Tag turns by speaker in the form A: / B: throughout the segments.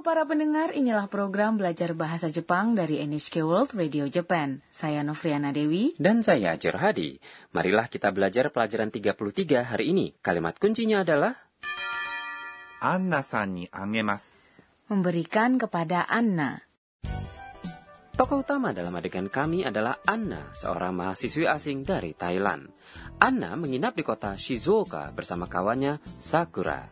A: para pendengar, inilah program belajar bahasa Jepang dari NHK World Radio Japan. Saya Novriana Dewi.
B: Dan saya Ajar Hadi. Marilah kita belajar pelajaran 33 hari ini. Kalimat kuncinya adalah
C: アンナさんにあげます。
A: Memberikan kepada Anna.
B: Tokoh utama dalam adegan kami adalah Anna, seorang mahasiswi asing dari Thailand. Anna menginap di kota Shizuoka bersama kawannya Sakura.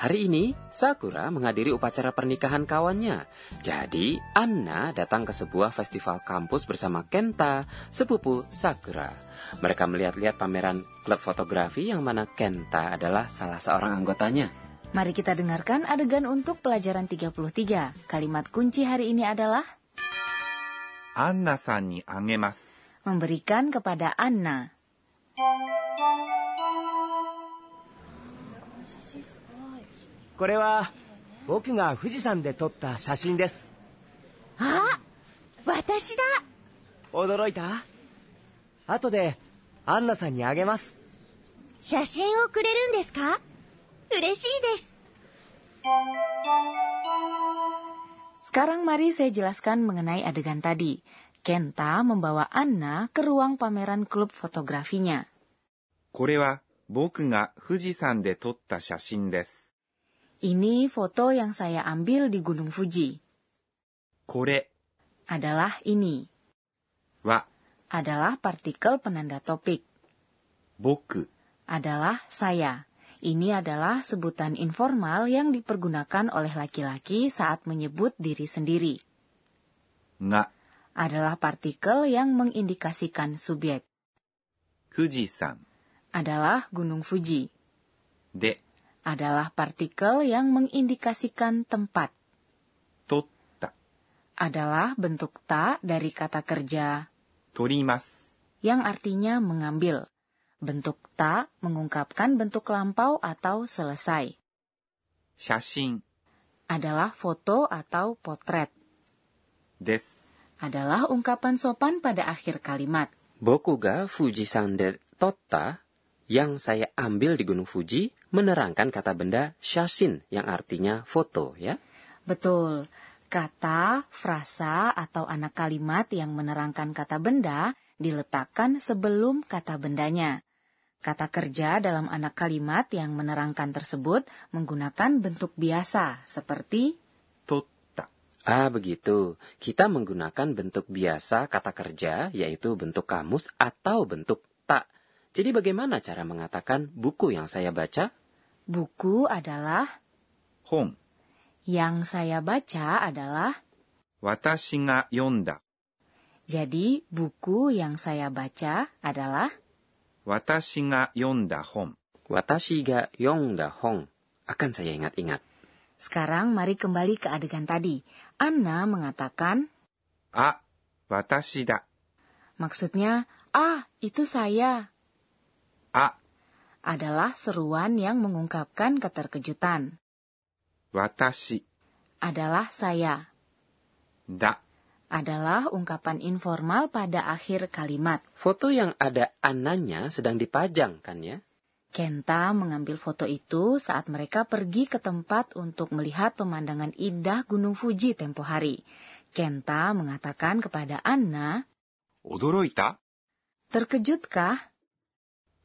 B: Hari ini, Sakura menghadiri upacara pernikahan kawannya. Jadi, Anna datang ke sebuah festival kampus bersama Kenta, sepupu Sakura. Mereka melihat-lihat pameran klub fotografi yang mana Kenta adalah salah seorang anggotanya.
A: Mari kita dengarkan adegan untuk pelajaran 33. Kalimat kunci hari ini adalah
C: アンナさんにあげます。
A: memberikan kepada Anna.
D: これは僕が富士山で撮った写真です
E: あ私だ
D: 驚いた後でアンナさんにあげます
E: 写真をくれるんですか嬉しいです
A: Sekarang mari saya jelaskan mengenai adegan tadi. Kenta membawa Anna ke ruang pameran klub fotografinya.
C: これは僕が富士山で撮った写真です。
A: Ini foto yang saya ambil di Gunung Fuji.
C: これ
A: Adalah ini.
C: は
A: Adalah partikel penanda topik.
C: 僕
A: Adalah saya. Ini adalah sebutan informal yang dipergunakan oleh laki-laki saat menyebut diri sendiri.
C: が
A: Adalah partikel yang mengindikasikan subjek.
C: 富士山
A: Adalah Gunung Fuji.
C: で
A: Adalah partikel yang mengindikasikan tempat.
C: 撮った、
A: Adalah bentuk ta dari kata kerja
C: 撮ります。
A: yang artinya mengambil. Bentuk ta mengungkapkan bentuk lampau atau selesai.
C: 写真
A: Adalah foto atau potret.
C: です。
A: Adalah ungkapan sopan pada akhir kalimat.
B: Boku ga Fujisan de Tota yang saya ambil di Gunung Fuji menerangkan kata benda shashin yang artinya foto ya.
A: Betul. Kata, frasa, atau anak kalimat yang menerangkan kata benda diletakkan sebelum kata bendanya. Kata kerja dalam anak kalimat yang menerangkan tersebut menggunakan bentuk biasa seperti
C: 撮った、
B: Ah begitu, kita menggunakan bentuk biasa kata kerja yaitu bentuk kamus atau bentuk tak. Jadi bagaimana cara mengatakan buku yang saya baca?
A: buku adalah
C: 本、
A: yang saya baca adalah
C: 私が読んだ、
A: jadi buku yang saya baca adalah
C: 私が読んだ本。
B: Watashi ga yongda hong. Akan saya ingat-ingat.
A: sekarang mari kembali ke adegan tadi. Anna mengatakan
C: あ、私だ、
A: maksudnya ah itu saya
C: あ、
A: adalah seruan yang mengungkapkan keterkejutan.
C: 私
A: Adalah saya
C: だ、
A: adalah ungkapan informal pada akhir kalimat.
B: Foto yang ada ananya sedang dipajang kan ya?
A: Kenta mengambil foto itu saat mereka pergi ke tempat untuk melihat pemandangan indah Gunung Fuji tempo hari. Kenta mengatakan kepada Anna,
C: 驚いた
A: terkejutkah?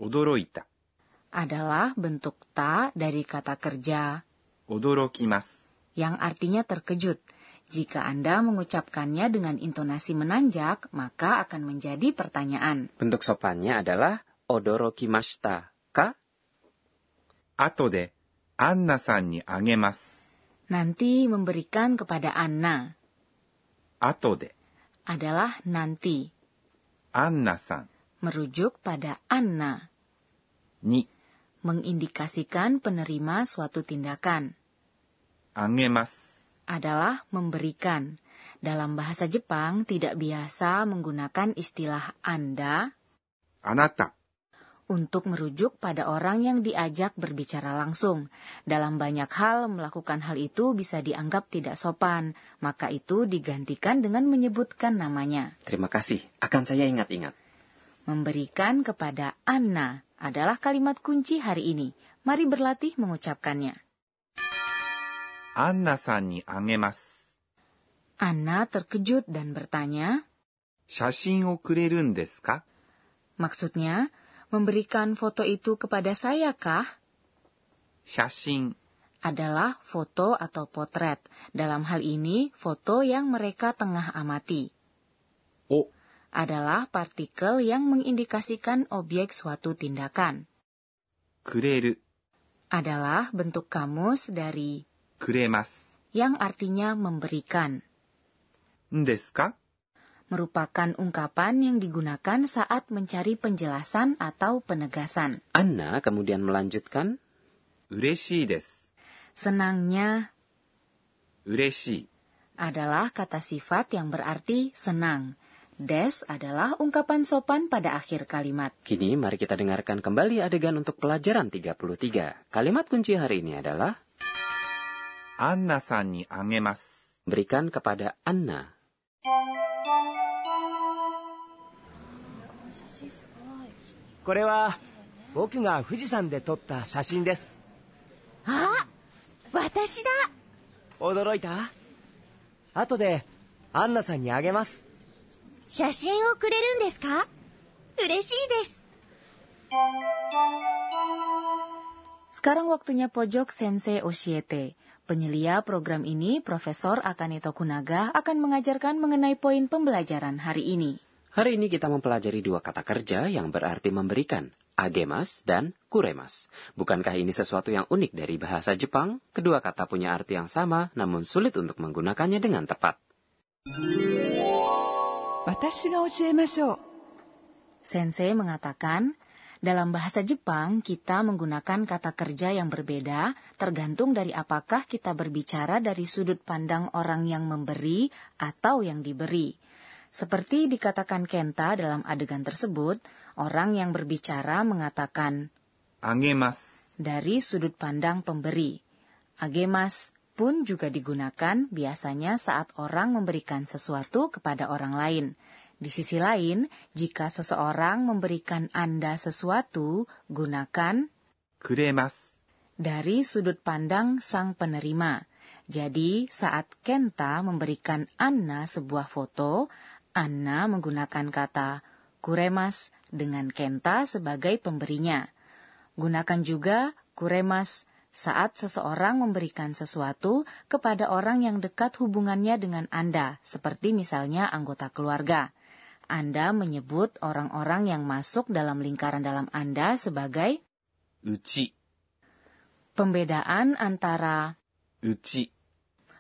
C: 驚いた、
A: Adalah bentuk ta dari kata kerja
C: 驚きます。
A: yang artinya terkejut. Jika Anda mengucapkannya dengan intonasi menanjak, maka akan menjadi pertanyaan.
B: Bentuk sopannya adalah odorokimashita ka
C: 後で、アンナさんにあげます。
A: Nanti memberikan kepada Anna
C: 後で、
A: adalah nanti,
C: アンナさん
A: merujuk pada Anna,
C: に
A: mengindikasikan penerima suatu tindakan,
C: あげます。
A: adalah memberikan. Dalam bahasa Jepang tidak biasa menggunakan istilah Anda
C: あなた、
A: untuk merujuk pada orang yang diajak berbicara langsung. Dalam banyak hal, melakukan hal itu bisa dianggap tidak sopan, maka itu digantikan dengan menyebutkan namanya.
B: Terima kasih, akan saya ingat-ingat.
A: Memberikan kepada Anna adalah kalimat kunci hari ini. Mari berlatih mengucapkannya.
C: アンナさんにあげます。
A: Anna terkejut dan bertanya,
C: 写真をくれるんですか
A: maksudnya, memberikan foto itu kepada saya kah?
C: 写真
A: Adalah foto atau potret. Dalam hal ini, foto yang mereka tengah amati.
C: を
A: Adalah partikel yang mengindikasikan objek suatu tindakan.
C: くれる、
A: Adalah bentuk kamus dari
C: くれます。
A: yang artinya memberikan.
C: んですか
A: Merupakan ungkapan yang digunakan saat mencari penjelasan atau penegasan.
B: Anna kemudian melanjutkan,
C: 嬉しいです。
A: Senangnya
C: 嬉しい。
A: adalah kata sifat yang berarti senang. Des adalah ungkapan sopan pada akhir kalimat.
B: kini mari kita dengarkan kembali adegan untuk pelajaran 33. Kalimat kunci hari ini adalah,
C: アンナさんにあげます。
B: berikan kepada Anna.
D: これは僕が富士山で撮った写真です
E: あ私だ
D: 驚いた後でアンナさんにあげます
E: 写真をくれるんですか嬉しいです。
A: Sekarang waktunya pojok Sensei Oshiete. Penyelia program ini, Profesor Akane Tokunaga akan mengajarkan mengenai poin pembelajaran hari ini.
B: Hari ini kita mempelajari dua kata kerja yang berarti memberikan, agemas dan kuremas. Bukankah ini sesuatu yang unik dari bahasa Jepang? Kedua kata punya arti yang sama, namun sulit untuk menggunakannya dengan tepat.
F: 私が教えましょう
A: Sensei mengatakan, dalam bahasa Jepang kita menggunakan kata kerja yang berbeda tergantung dari apakah kita berbicara dari sudut pandang orang yang memberi atau yang diberi. Seperti dikatakan Kenta dalam adegan tersebut, orang yang berbicara mengatakan
C: あげます。
A: dari sudut pandang pemberi. Agemas pun juga digunakan biasanya saat orang memberikan sesuatu kepada orang lain. Di sisi lain, jika seseorang memberikan Anda sesuatu, gunakan
C: くれます。
A: dari sudut pandang sang penerima. Jadi, saat Kenta memberikan Anna sebuah foto, Anna menggunakan kata kuremas dengan Kenta sebagai pemberinya. Gunakan juga kuremas saat seseorang memberikan sesuatu kepada orang yang dekat hubungannya dengan Anda, seperti misalnya anggota keluarga. Anda menyebut orang-orang yang masuk dalam lingkaran dalam Anda sebagai
C: うち、
A: pembedaan antara
C: うち、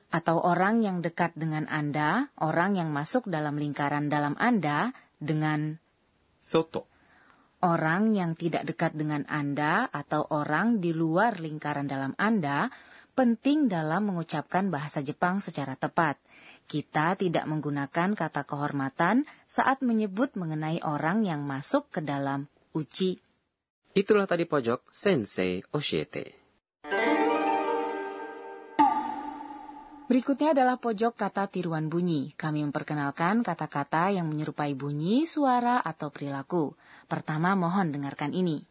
A: atau orang yang dekat dengan Anda, orang yang masuk dalam lingkaran dalam Anda, dengan
C: 外、
A: orang yang tidak dekat dengan Anda atau orang di luar lingkaran dalam Anda, penting dalam mengucapkan bahasa Jepang secara tepat. Kita tidak menggunakan kata kehormatan saat menyebut mengenai orang yang masuk ke dalam uci
B: Itulah tadi pojok Sensei Oshiete.
A: Berikutnya adalah pojok kata tiruan bunyi. Kami memperkenalkan kata-kata yang menyerupai bunyi, suara, atau perilaku. Pertama, mohon dengarkan ini.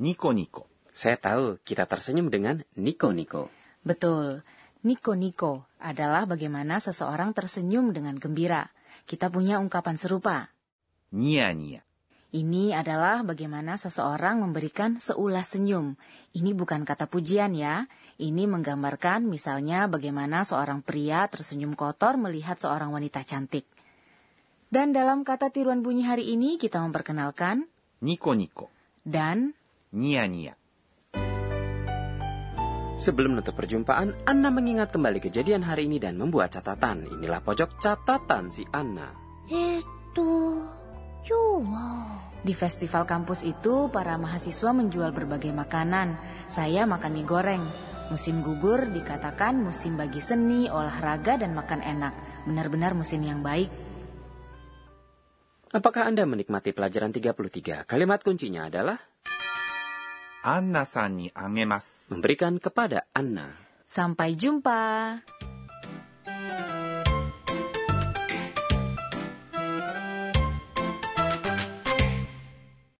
C: ニコニコ、
B: Saya tahu kita tersenyum dengan Niko Niko.
A: Betul, niko-niko adalah bagaimana seseorang tersenyum dengan gembira. Kita punya ungkapan serupa.
C: ニヤニヤ、
A: Ini adalah bagaimana seseorang memberikan seulas senyum. Ini bukan kata pujian ya. Ini menggambarkan misalnya bagaimana seorang pria tersenyum kotor melihat seorang wanita cantik. Dan dalam kata tiruan bunyi hari ini kita memperkenalkan
C: ニコニコ、
A: dan
C: ニヤニヤ、
B: Sebelum menutup perjumpaan, Anna mengingat kembali kejadian hari ini dan membuat catatan. Inilah pojok catatan si Anna.
E: えっと、今日は、
A: di festival kampus itu para mahasiswa menjual berbagai makanan. Saya makan mie goreng. Musim gugur dikatakan musim bagi seni, olahraga, dan makan enak. Benar-benar musim yang baik.
B: Apakah Anda menikmati pelajaran 33? Kalimat kuncinya adalah
C: アンナさんにあげます。
B: memberikan kepada Anna.
A: Sampai jumpa.